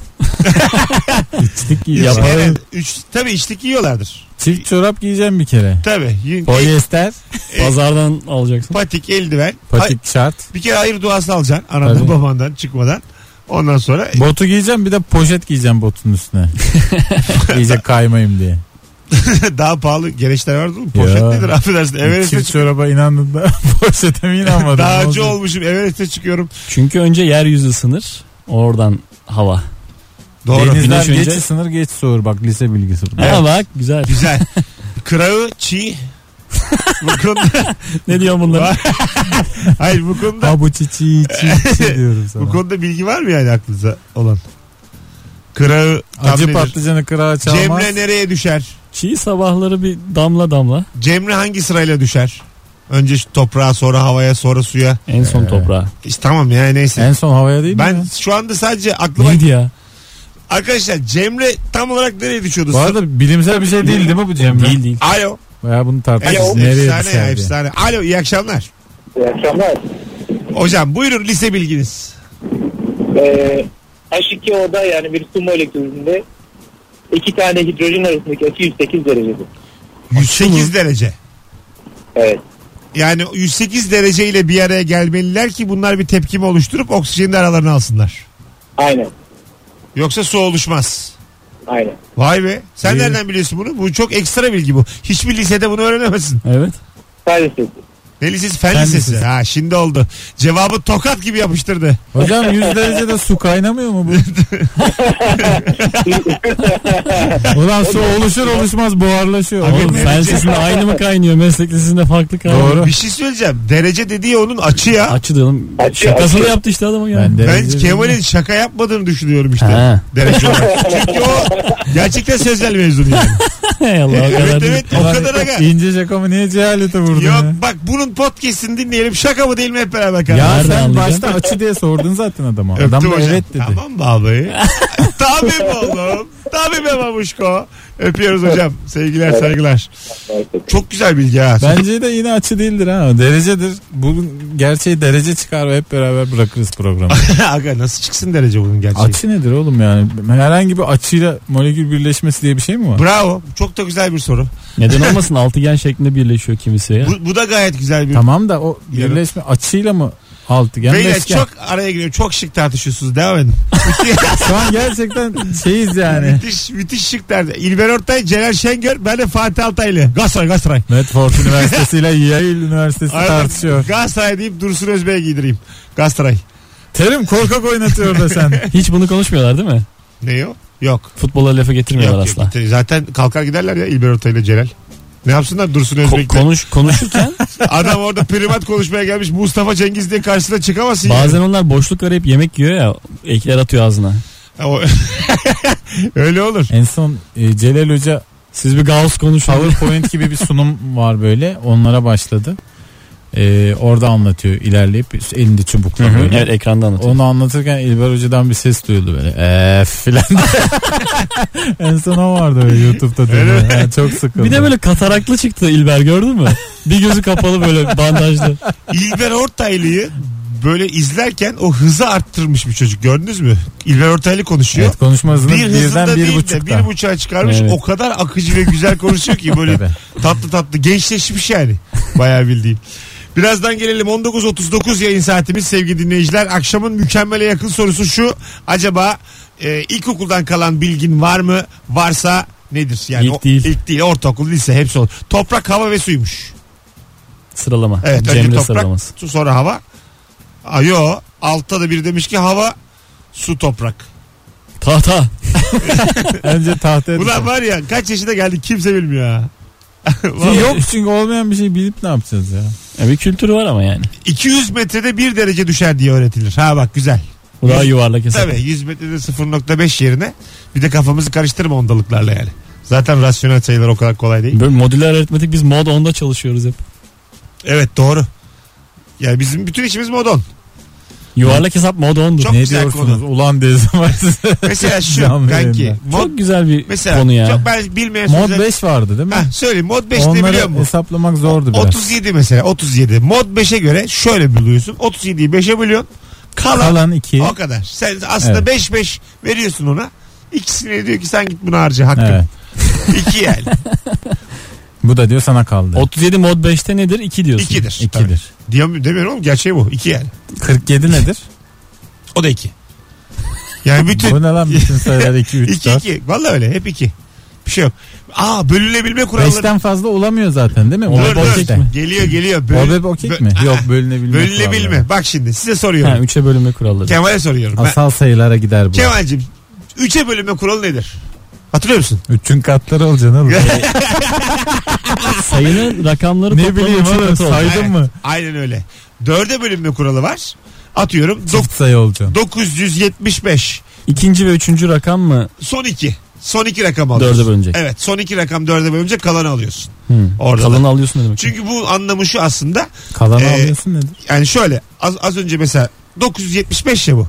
*laughs*
İçlik giyiyorlar.
Yapar-
Evet, üç, tabii içlik giyiyorlardır.
Çift çorap giyeceğim bir kere.
Tabii. Yün-
Polyester,
Pazardan alacaksın.
patik, eldiven. Hay-
patik şart.
bir kere hayır duası alacaksın anadan
Tabii.
babandan çıkmadan. Ondan sonra
Botu giyeceğim bir de poşet giyeceğim
*laughs*
botun üstüne. İyice kaymayayım diye.
daha pahalı gereçler vardı mı? Poşet
Ya.
nedir affedersin Everest'e
Çift
çık-
çoraba inandın da *laughs* poşete mi inanmadın? Ne
Dağcı
olacak?
olmuşum Everest'e çıkıyorum.
Çünkü önce yeryüzü sınır. Oradan hava.
Doğru.
Deniz-
Denizler
Güneş
geç
önce-
sınır geç soğur bak lise bilgisi. bu.
Ha bak
*laughs*
güzel.
Güzel. Kırağı çiğ. bu
*laughs*
konuda,
Ne diyor bunlar?
hayır bu konuda
Ha bu çiçeği çiçeği diyorum sana.
bu konuda bilgi var mı yani aklınıza olan? Kırağı tam
Acı
nedir?
patlıcanı kırağa çalmaz.
Cemre nereye düşer?
Çiğ sabahları bir damla damla.
Cemre hangi sırayla düşer? Önce şu toprağa sonra havaya sonra suya.
En son toprağa.
İşte tamam ya neyse.
En son havaya değil mi?
ben
ya?
şu anda sadece aklıma
Neydi ya?
Arkadaşlar Cemre tam olarak nereye düşüyordu?
Bu arada bilimsel bir şey değil değil mi bu Cemre?
Değil değil.
Alo.
Baya bunu tartışırız.
Alo.
Nereye
Efsane E, ya
düşer diye.
efsane. Alo iyi akşamlar.
İyi akşamlar.
Hocam buyurun lise bilginiz.
Ee, H2O'da yani bir su molekülünde iki tane hidrojen arasındaki açı 108 derecedir.
108 derece.
Evet.
Yani 108 derece ile bir araya gelmeliler ki bunlar bir tepkimi oluşturup oksijeni de aralarına alsınlar.
Aynen.
Yoksa su oluşmaz.
Aynen.
Vay be. Sen
İyi.
nereden biliyorsun bunu? Bu çok ekstra bilgi bu. Hiçbir lisede bunu öğrenemezsin.
Evet.
Sadece
Ne lisesi? Fen
Fen
lisesi.
lisesi.
Ha şimdi oldu. Cevabı tokat gibi yapıştırdı.
Hocam 100 derecede su
*laughs*
kaynamıyor mu bu? Ulan su oluşur oluşmaz buharlaşıyor.
Abi
Oğlum,
Oğlum
ne
fen
diyecek?
sesinde aynı mı kaynıyor? Meslek sesinde farklı kaynıyor.
Doğru.
Bir şey söyleyeceğim. Derece dediği onun açı ya.
Açı diyorum.
Açı,
Şakasını
açı.
yaptı işte adama ya.
Ben de-
Ben
Derece
Kemal'in şaka yapmadığını düşünüyorum işte.
Ha.
Derece olarak. Çünkü o gerçekten sözel mezunu
*laughs*
yani.
*laughs* Hey Allah o kadar
evet
değil.
evet o kadar aga.
İnce şakamı niye cehalete vurdun
Yok
ya?
bak bunun podcast'ini dinleyelim. Şaka mı değil mi hep beraber karar.
Ya
Nereden
sen
anlayacaksın?
başta açı diye sordun zaten adama.
Öptüm
Adam da
hocam.
evet dedi.
Tamam be
*laughs*
abi. Tabii mi oğlum? Tabii be babuşko. Öpüyoruz hocam. Sevgiler saygılar. Çok güzel bilgi ha.
Bence de yine açı değildir ha. Derecedir. Bunun gerçeği derece çıkar ve hep beraber bırakırız programı.
*laughs* *laughs* Şey. Aga nasıl çıksın derece bunun gerçeği?
açı nedir oğlum yani? Herhangi bir açıyla molekül birleşmesi diye bir şey mi var?
Bravo. Çok da güzel bir soru.
Neden olmasın altıgen şeklinde birleşiyor kimisi ya.
Bu, bu da gayet güzel bir
Tamam da o
Yarım.
birleşme açıyla mı altıgen
Beyler
beşgen?
çok araya giriyor. Çok şık tartışıyorsunuz. Devam
*laughs*
edin.
Şu an gerçekten
*laughs*
şeyiz yani.
müthiş, müthiş şık tartış. İlber Ortay, Celal Şengör, ben de Fatih Altaylı. Galatasaray, Galatasaray.
Medford Üniversitesi ile Yale Üniversitesi tartışıyor.
Galatasaray deyip Dursun Özbey'e giydireyim. Galatasaray.
Terim korkak oynatıyor da sen.
*laughs* Hiç bunu konuşmuyorlar değil mi?
Ne o? Yok.
Futbola lafa getirmiyorlar
Yok,
asla.
yok, bitti. Zaten kalkar giderler ya İlber Ortay ile Celal. Ne yapsınlar Dursun
Ko-
Özbek'te?
konuş konuşurken
*laughs* Adam orada privat konuşmaya gelmiş Mustafa Cengiz diye karşısına çıkamazsın.
bazen onlar boşluk arayıp yemek yiyor ya ekler atıyor ağzına.
yani. O- *laughs* Öyle olur.
En son e, Celal Hoca
Siz bir Gauss konuşun.
PowerPoint gibi bir sunum var böyle. Onlara başladı. E, orada anlatıyor ilerleyip elinde çubukla
Hı hı,
böyle.
evet ekranda anlatıyor.
Onu anlatırken İlber Hoca'dan bir ses duyuldu böyle. Eee filan. *laughs* en son o vardı öyle YouTube'da.
Öyle
dönüyor. Ha, çok sıkıldı.
Bir de böyle kataraklı çıktı İlber gördün mü? Bir gözü kapalı böyle bandajlı.
İlber Ortaylı'yı böyle izlerken o hızı arttırmış bir çocuk gördünüz mü? İlber Ortaylı konuşuyor.
Evet, konuşma hızını
Bir hızında
birden bir
değil de
buçukta.
bir buçuğa çıkarmış.
Evet.
O kadar akıcı ve güzel konuşuyor ki
*laughs*
böyle
Tabii.
tatlı tatlı gençleşmiş yani. Bayağı bildiğim. Birazdan gelelim 19.39 yayın saatimiz sevgili dinleyiciler. Akşamın mükemmele yakın sorusu şu. Acaba e, ilkokuldan kalan bilgin var mı? Varsa nedir? Yani
İlk
o-
değil.
ilk değil. Ortaokul, lise hepsi olur. Toprak, hava ve suymuş.
Sıralama.
Evet önce
Cemre
toprak
sıralaması.
su sonra hava. Aa, yo altta da biri demiş ki hava su toprak.
Tahta.
*laughs* Önce tahtaya
Ulan
düşer.
var ya kaç yaşında geldik kimse bilmiyor ha. *laughs* Vallahi.
Yok çünkü olmayan bir şey bilip ne yapacağız ya?
Ya bir kültürü var ama yani.
200 metrede 1 derece düşer diye öğretilir. Ha bak güzel.
Bu daha yuvarlak hesap.
Tabii 100 metrede 0.5 yerine bir de kafamızı karıştırma ondalıklarla yani. Zaten rasyonel sayılar o kadar kolay değil.
Böyle modüler aritmetik biz mod 10'da çalışıyoruz hep.
Evet doğru. Yani bizim bütün işimiz modon.
Yuvarlak hesap mod 10'dur.
Çok
ne
güzel
diyorsunuz?
konu.
Ulan dezim
*laughs*
var size.
Mesela şu
Can verin
kanki.
ben.
Mod,
Çok güzel bir
mesela
konu ya.
çok ben bilmeyen
Mod
sözler-
5 vardı değil mi?
Ha, söyleyeyim mod 5 ne biliyor
Onları
musun?
hesaplamak zordu biraz.
37 mesela 37. Mod 5'e göre şöyle buluyorsun. 37'yi 5'e bölüyorsun. Kalan,
Kalan 2.
o kadar. Sen aslında 5 5 veriyorsun ona. İkisine diyor ki sen git bunu harca hakkım.
Evet.
İki
*laughs*
yani.
Bu da diyor sana kaldı.
37 mod 5'te nedir? 2 diyorsun.
İkidir. Tabii.
2'dir.
Diyem, demiyorum oğlum gerçeği bu. İki yani.
47
*laughs*
nedir?
O da iki.
*laughs*
Yani
Bu
bütün
ne lan bütün sayılar 2 3
iki
4.
iki. Valla öyle hep iki. Bir şey yok. Aa bölünebilme kuralları.
5'ten fazla olamıyor zaten değil mi?
Dur,
Olab
dur.
okek mi?
Geliyor geliyor. Böl-
Olab okek
bö-
mi?
Aa,
Yok bölünebilme. kuralları.
Bölünebilme. Bak şimdi size
Ha,
soruyorum.
3'e bölünme kuralları.
Kemal'e soruyorum. Ben,
Asal sayılara gider bu.
Kemal'cim 3'e bölünme kuralı nedir? Hatırlıyor musun?
3'ün katları olacaksın
*laughs*
oğlum.
Sayının rakamları
ne
toplamı
bileyim
üçün
oğlum
katı oldu.
saydın
Evet,
mı?
Aynen öyle. 4'e bölünme kuralı var. Atıyorum
Çift sayı olacaksın.
975.
İkinci ve üçüncü rakam mı?
Son iki. Son iki rakam alıyorsun.
Dörde bölünecek.
Evet son iki rakam dörde bölünce kalanı alıyorsun.
Hı.
Orada da.
Kalanı alıyorsun ne demek?
Çünkü bu anlamı şu aslında.
Kalanı
Ee,
alıyorsun nedir?
Yani şöyle az, az önce mesela 975 ya bu.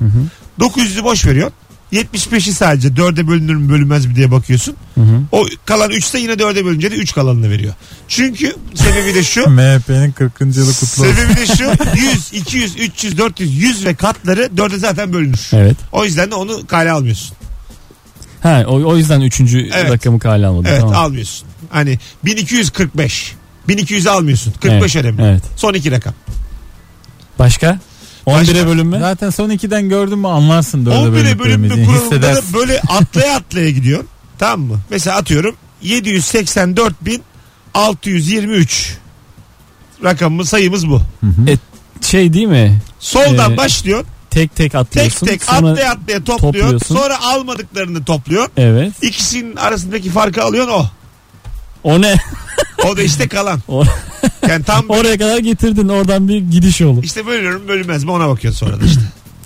900'ü boş veriyorsun. 75'i sadece 4'e bölünür mü bölünmez mi diye bakıyorsun.
Hı hı.
O kalan 3 ise yine 4'e bölünce de 3 kalanını veriyor. Çünkü sebebi de
*laughs*
şu.
MHP'nin 40. yılı kutlu olsun.
sebebi de şu. 100, 200, 300, 400, 100 ve katları 4'e zaten bölünür.
Evet.
O yüzden de onu kale almıyorsun.
Ha, o, o yüzden üçüncü
Evet.
rakamı kale almadı.
Evet
tamam.
almıyorsun. Hani 1245. 1200 almıyorsun. 45
Evet,
önemli.
evet.
Son iki rakam.
Başka? 11'e
Başka?
bölünme?
Zaten son 2'den gördün mü anlarsın
11'e
4'e
bölüm
bölündüğümüzü
bir kuralında da
*laughs*
hissedersin.
böyle atlaya atlaya gidiyor. Tamam mı? Mesela atıyorum 784.623 rakamımız sayımız bu.
Şey değil mi?
Soldan
Ee,
başlıyor.
Tek tek
Tek
atlıyorsun.
tek
Sonra-
atlaya atlaya topluyor.
topluyorsun.
Sonra almadıklarını topluyor.
Evet.
İkisinin arasındaki farkı alıyorsun o.
O ne? *laughs*
O da işte kalan.
O-
Yani tam
*laughs* Oraya kadar getirdin. Oradan bir gidiş yolu.
işte bölüyorum bölünmez mi ona bakıyorsun sonra da işte.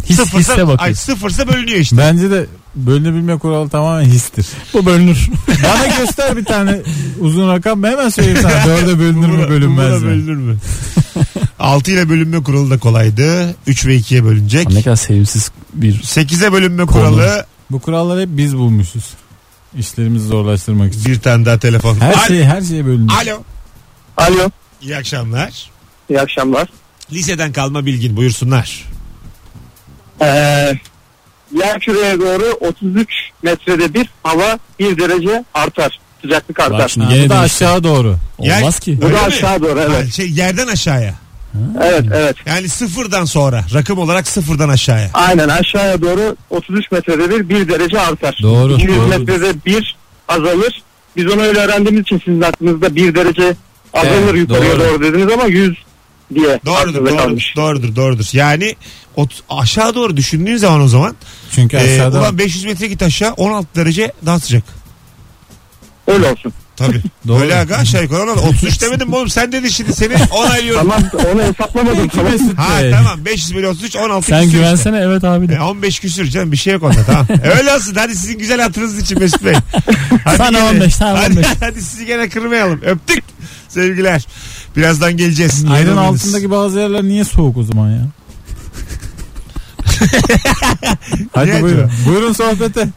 His,
Sıfırsa-
hisse
ay,
bakıyorsun.
sıfırsa bölünüyor işte.
Bence de bölünebilme kuralı tamamen histir.
Bu bölünür.
Bana göster bir tane uzun rakam ben hemen söyleyeyim
*laughs*
sana. Dörde bölünür mü bölünmez
Buna
mi?
bölünür mü? *laughs* 6 ile bölünme kuralı da kolaydı. 3 ve 2'ye bölünecek.
ne kadar sevimsiz bir
8'e bölünme
Konu.
kuralı.
Bu kuralları hep biz bulmuşuz. İşlerimizi zorlaştırmak için.
Bir tane daha telefon.
Her
Al-
şey her şeye bölünür.
Alo.
Alo.
İyi akşamlar.
İyi akşamlar.
Liseden kalma bilgin buyursunlar.
Ee, yer küreye doğru 33 metrede bir hava 1 derece artar. Sıcaklık artar.
Bak şimdi
Ha,
gene
bu da
demiş.
aşağı doğru.
Olmaz ki.
Bu
Öyle
da
mi?
aşağı doğru evet.
Yani şey, yerden aşağıya.
Evet evet.
Yani sıfırdan sonra. Rakım olarak sıfırdan aşağıya.
Aynen aşağıya doğru 33 metrede bir 1 derece artar.
Doğru,
200
doğru.
metrede 1 azalır. Biz onu öyle öğrendiğimiz için sizin aklınızda 1 derece azalır
Evet,
yukarıya
doğru.
doğru. dediniz ama 100 diye
Doğrudur,
aklınızda
doğrudur,
kalmış.
doğrudur, doğrudur. Yani ot- aşağı doğru düşündüğün zaman o zaman
Çünkü
e,
aşağıda
ulan 500 metre git aşağı 16 derece daha sıcak.
Öyle olsun.
Tabii. şey
Doğru.
Böyle aga aşağı yukarı olan 33 demedim mi oğlum sen dedin şimdi seni onaylıyorum.
Tamam onu hesaplamadım. tamam.
Mesut
ha
Bey.
tamam 500 bölü 33 16
Sen
küsür işte.
güvensene evet abi de.
E, 15 küsür canım bir şey yok onda tamam. Öyle olsun hadi sizin güzel hatırınız için Mesut Bey. Hadi
Sana
gene.
15, sana
hadi,
15.
*laughs* Hadi sizi gene kırmayalım öptük sevgiler. Birazdan geleceğiz.
Yerin
Ayrılmayınız.
altındaki bazı yerler niye soğuk o
*laughs*
zaman ya? Hadi
Niye
buyurun.
acaba?
Buyurun sohbete.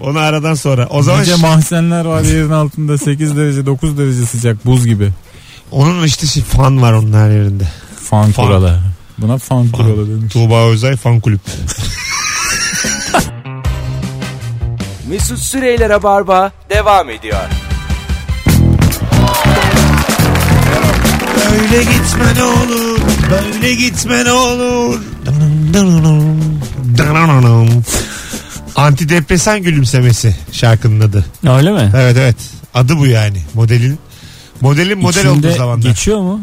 Onu aradan sonra. O zaman
Nice mahzenler var yerin altında 8 derece 9 derece sıcak buz gibi.
onun işte şey, fan var onun her yerinde.
Fan,
Fan.
kuralı. Buna fan, kuralı demiş.
Tuğba Özay fan kulüp.
Mesut Süreyler'e barba devam ediyor.
Böyle gitme ne olur. Böyle gitme ne olur. Antidepresan gülümsemesi şarkının adı.
Öyle mi?
Evet evet. Adı bu yani. Modelin modelin model
İçinde
olduğu zamanda.
Geçiyor mu?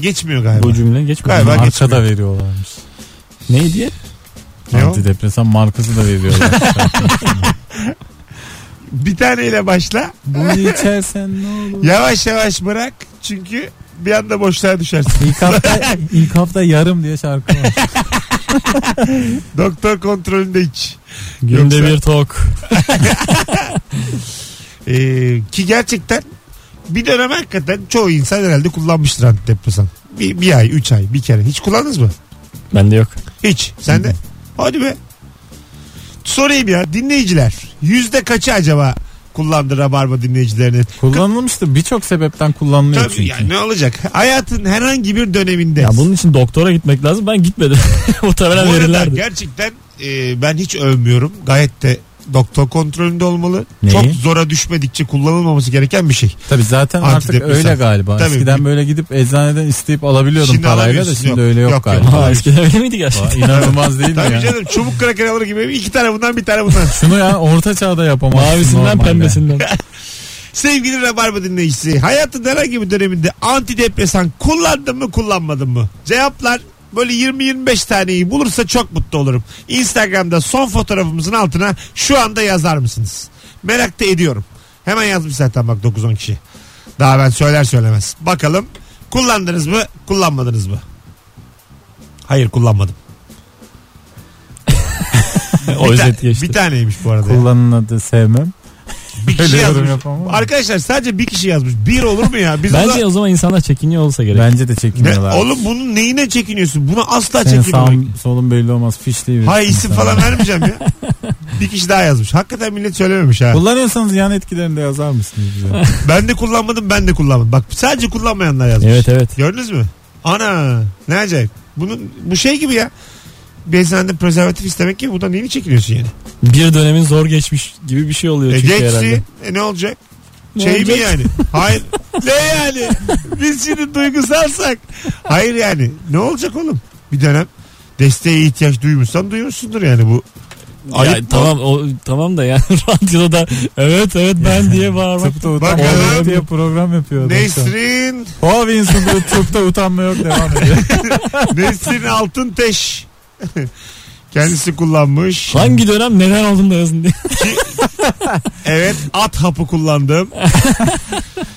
Geçmiyor galiba.
Bu cümle geçmiyor.
Galiba
Ar-
Arkada veriyorlarmış.
Ne diye?
Ne o?
Antidepresan markası
*laughs*
da veriyorlar.
Bir taneyle başla.
Bunu içersen ne olur?
Yavaş yavaş bırak. Çünkü bir anda boşluğa düşersin. *laughs*
İlk hafta, E, ilk hafta yarım diye şarkı var.
Doktor kontrolünde iç.
Günde
Yoksa-
bir tok.
Ee, ki gerçekten bir dönem hakikaten çoğu insan herhalde kullanmıştır antidepresan. Bir, bir ay, üç ay, bir kere. Hiç kullandınız mı?
Bende yok.
Hiç. Sen de? Hadi be. Sorayım ya dinleyiciler. Yüzde kaçı acaba kullandı Rabarba dinleyicilerinin?
Kullanılmıştı. Birçok sebepten kullanılıyor
Tabii
çünkü.
yani ne olacak? Hayatın herhangi bir döneminde.
Ya bunun için doktora gitmek lazım. Ben gitmedim. *laughs*
Bu
Muhtemelen
arada
verirlerdi.
gerçekten e, ben hiç övmüyorum. Gayet de doktor kontrolünde olmalı.
Neyi?
Çok zora düşmedikçe kullanılmaması gereken bir şey.
Tabii zaten artık
Antidepresan.
öyle galiba.
Tabii.
Eskiden böyle gidip eczaneden isteyip alabiliyordum
Şimdi
parayla da
alamıyorsun.
şimdi
Yok.
öyle yok,
Yok, yok.
galiba. *laughs*
Ha, eskiden öyle miydi gerçekten?
İnanılmaz değil mi
Tabii
ya?
canım çubuk kraker alır gibi iki tane bundan bir tane bundan.
Şunu ya orta çağda
*laughs*
yapamazsın
Mavisinden
normalde. *laughs*
pembesinden.
*laughs* Sevgili Rabarba dinleyicisi hayatın herhangi bir döneminde antidepresan kullandın mı kullanmadın mı? Cevaplar böyle 20-25 taneyi bulursa çok mutlu olurum. Instagram'da son fotoğrafımızın altına şu anda yazar mısınız? Merak da ediyorum. Hemen yazmış zaten bak 9-10 kişi. Daha ben söyler söylemez. Bakalım kullandınız mı kullanmadınız mı? Hayır
*laughs*
kullanmadım.
o
bir, ta-
özet geçti.
bir taneymiş bu arada. ya.
Kullanın adı sevmem.
Bir kişi
Öyle yorum
yazmış.
yapamam ama.
Arkadaşlar sadece bir kişi yazmış. Bir olur mu ya? Biz
Bence o zaman insanlar çekiniyor olsa gerek.
Bence de
Ne,
çekiniyorlar.
oğlum bunun neyine çekiniyorsun? Buna asla
Senin
çekinmemek.
sağın solun belli olmaz. Fişli bir.
Hayır isim falan vermeyeceğim
*laughs*
ya. Bir kişi daha yazmış. Hakikaten millet söylememiş ha.
Kullanıyorsanız yan etkilerini de yazar mısınız
*laughs*
bize?
Ben de kullanmadım ben de kullanmadım. Bak sadece kullanmayanlar yazmış.
Evet evet.
Gördünüz mü? Ana ne acayip. Bunun, bu şey gibi ya. Bir eczaneden prezervatif istemek gibi bundan neyini çekiniyorsun yani?
Bir dönemin zor geçmiş gibi bir şey oluyor
E,
çünkü
geçti.
herhalde.
E, ne olacak?
Ne
şey
olacak?
mi
*laughs*
yani? Hayır. ne yani? Biz şimdi duygusalsak. Hayır yani. Ne olacak oğlum? Bir dönem desteğe ihtiyaç duymuşsan duymuşsundur yani bu. Ayıp
Ya,
mı?
tamam o, tamam da yani *laughs* radyoda da evet evet ben diye bağırmak.
Tıpta
Bak
utanma
adam-
yok diye program yapıyor. adam şu an.
Nesrin,
Hovins'in bu tıpta utanma yok
*laughs*
devam ediyor.
Nesrin Altın Teş. *laughs* Kendisi kullanmış.
Hangi dönem neden oldun da yazın diye.
Evet at hapı kullandım.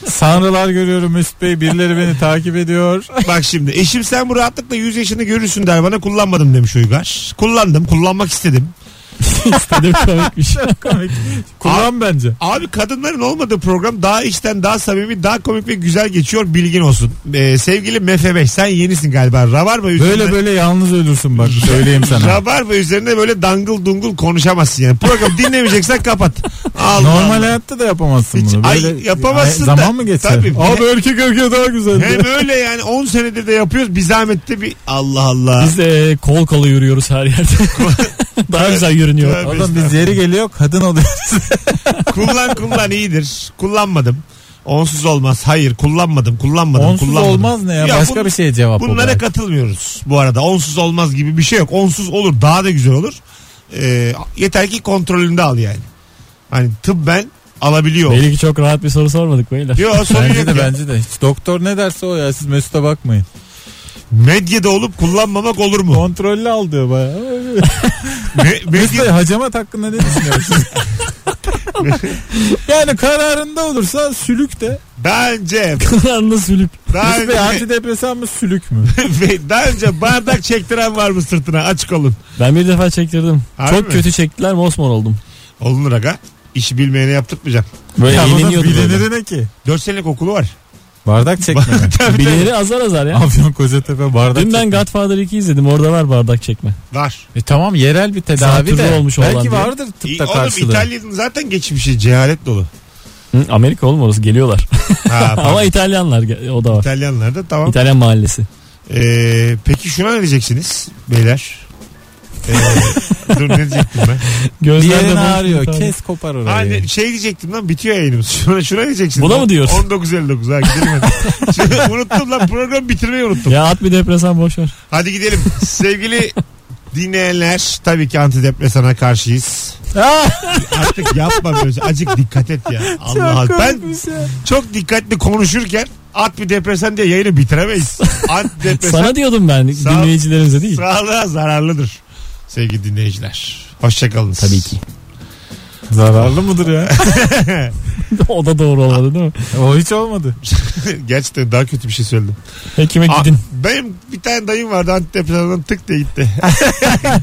Sanrılar görüyorum Mesut Bey. Birileri beni takip ediyor.
Bak şimdi eşim sen bu rahatlıkla 100 yaşını görürsün der bana kullanmadım demiş Uygar. Kullandım kullanmak istedim.
İstedim komik bir şey.
*laughs* Komik. Kullan bence.
Abi kadınların olmadığı program daha içten daha samimi daha komik ve güzel geçiyor bilgin olsun. Ee, sevgili Mefe Bey sen yenisin galiba. Rabarba üzerinde,
Böyle böyle yalnız ölürsün bak söyleyeyim sana.
Rabarba üzerinde böyle dangıl dungul konuşamazsın yani.
*laughs*
Program dinlemeyeceksen kapat. Allah
Normal
Allah.
hayatta da yapamazsın
Hiç-
bunu. Böyle,
ay, yapamazsın
Ay,
da-
Zaman mı geçer?
Tabii.
Abi erkek erkeğe daha güzeldi.
Hem öyle yani 10 senedir de yapıyoruz. Bir zahmette bir Allah Allah.
Biz de e, kol kola yürüyoruz her yerde.
*laughs*
Daha güzel görünüyor.
Tövbe
Oğlum biz
estağfurullah.
yeri geliyor kadın oluyoruz.
kullan kullan iyidir. Kullanmadım. Onsuz olmaz. Hayır kullanmadım kullanmadım
Onsuz
kullanmadım.
olmaz ne ya?
Ya
Başka
bun-
bir şeye cevap
Bunlara
olarak.
katılmıyoruz bu arada. Onsuz olmaz gibi bir şey yok. Onsuz olur daha da güzel olur. Ee, yeter ki kontrolünde al yani. Hani tıbben alabiliyor.
Belli ki çok rahat bir soru sormadık beyler.
Yok sorun
Bence
yok
de
ya.
bence de. Hiç doktor ne derse o ya siz Mesut'a bakmayın.
Medyada olup kullanmamak olur mu?
Kontrollü al diyor baya.
Me-
Mesut Bey
medya- *laughs*
hacamat hakkında ne düşünüyorsun? Yani kararında olursa sülük de.
Bence
Kulağında sülüp.
daha
Mesut Bey
*laughs* önce,
antidepresan mı sülük mü?
daha önce bardak çektiren var mı sırtına açık olun.
Ben bir defa çektirdim.
Harbi
Çok
mi?
kötü çektiler mosmor oldum.
Olunur aga. İşi bilmeyene yaptırtmayacağım.
Böyle
Ya bunun
yeniliyordu böyle.
biliniri ne ki?
4 senelik okulu var.
*laughs* Bardak çekme.
Biliniri azar azar ya.
Afyon Kocatepe bardak
Dün ben
çekme.
Godfather 2 izledim orada var bardak çekme.
Var.
E tamam yerel bir tedavi
Zatürre
de.
olmuş olan
Belki
diye.
vardır
İyi,
tıpta
Oğlum
karşılığı.
İtalya'nın zaten geçmişi cehalet dolu.
Hı, Amerika oğlum orası geliyorlar.
*laughs*
Ha, pardon.
Ama İtalyanlar ge- o da var.
İtalyanlar da tamam.
İtalyan mahallesi.
Ee, peki şuna ne diyeceksiniz beyler?
*laughs*
Ee, dur ne diyecektim ben?
Diğerini
boşluk
ağrıyor.
ifade.
Kes kopar orayı.
Hani şey diyecektim lan bitiyor yayınımız. *laughs* Şuna, şuna diyeceksiniz.
Buna mı diyorsun?
19.59 ha gidelim
*laughs*
hadi. Şimdi unuttum lan program bitirmeyi unuttum.
Ya at bir depresan boş ver.
Hadi gidelim. Sevgili dinleyenler tabii ki antidepresana karşıyız. Artık yapma böyle. şey. Azıcık dikkat et ya. Allah Allah. Ben
şey.
çok dikkatli konuşurken at bir depresan diye yayını
*laughs*
bitiremeyiz. Antidepresan
*laughs* Sana diyordum ben
Sağ-
dinleyicilerimize değil.
sağlığa zararlıdır. Sevgili dinleyiciler. Hoşçakalınız.
Tabii ki.
Zararlı mıdır *laughs* ya?
*laughs* o da doğru olmadı değil mi?
o hiç olmadı.
*laughs* Gerçekten daha kötü bir şey söyledim.
Hekime
Aa,
gidin.
benim bir tane dayım vardı antidepresandan tık diye gitti. *laughs*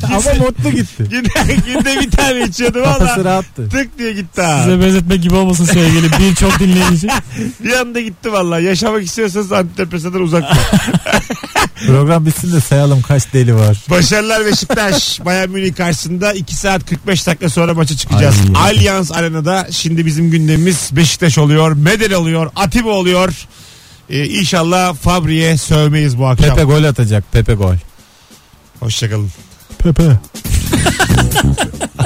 Ama mutlu gitti.
Günde, günde bir tane içiyordu
Kafası
valla.
rahattı.
Tık diye gitti ha.
Size benzetme gibi olmasın sevgili birçok dinleyici.
Bir anda gitti valla. Yaşamak istiyorsanız antidepresandan uzak
*laughs*
durun.
Program bitsin de sayalım kaç deli var.
Başarılar Beşiktaş. Bayern Münih karşısında 2 saat 45 dakika sonra maça çıkacağız.
Ay.
Allianz Arena'da şimdi bizim gündemimiz Beşiktaş oluyor. Medel oluyor. Atiba oluyor. Ee, inşallah Fabri'ye sövmeyiz bu akşam.
Pepe gol atacak. Pepe gol.
Hoşçakalın.
Pepe.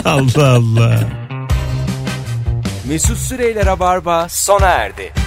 Allah Allah.
Mesut Süreyler'e barba sona erdi.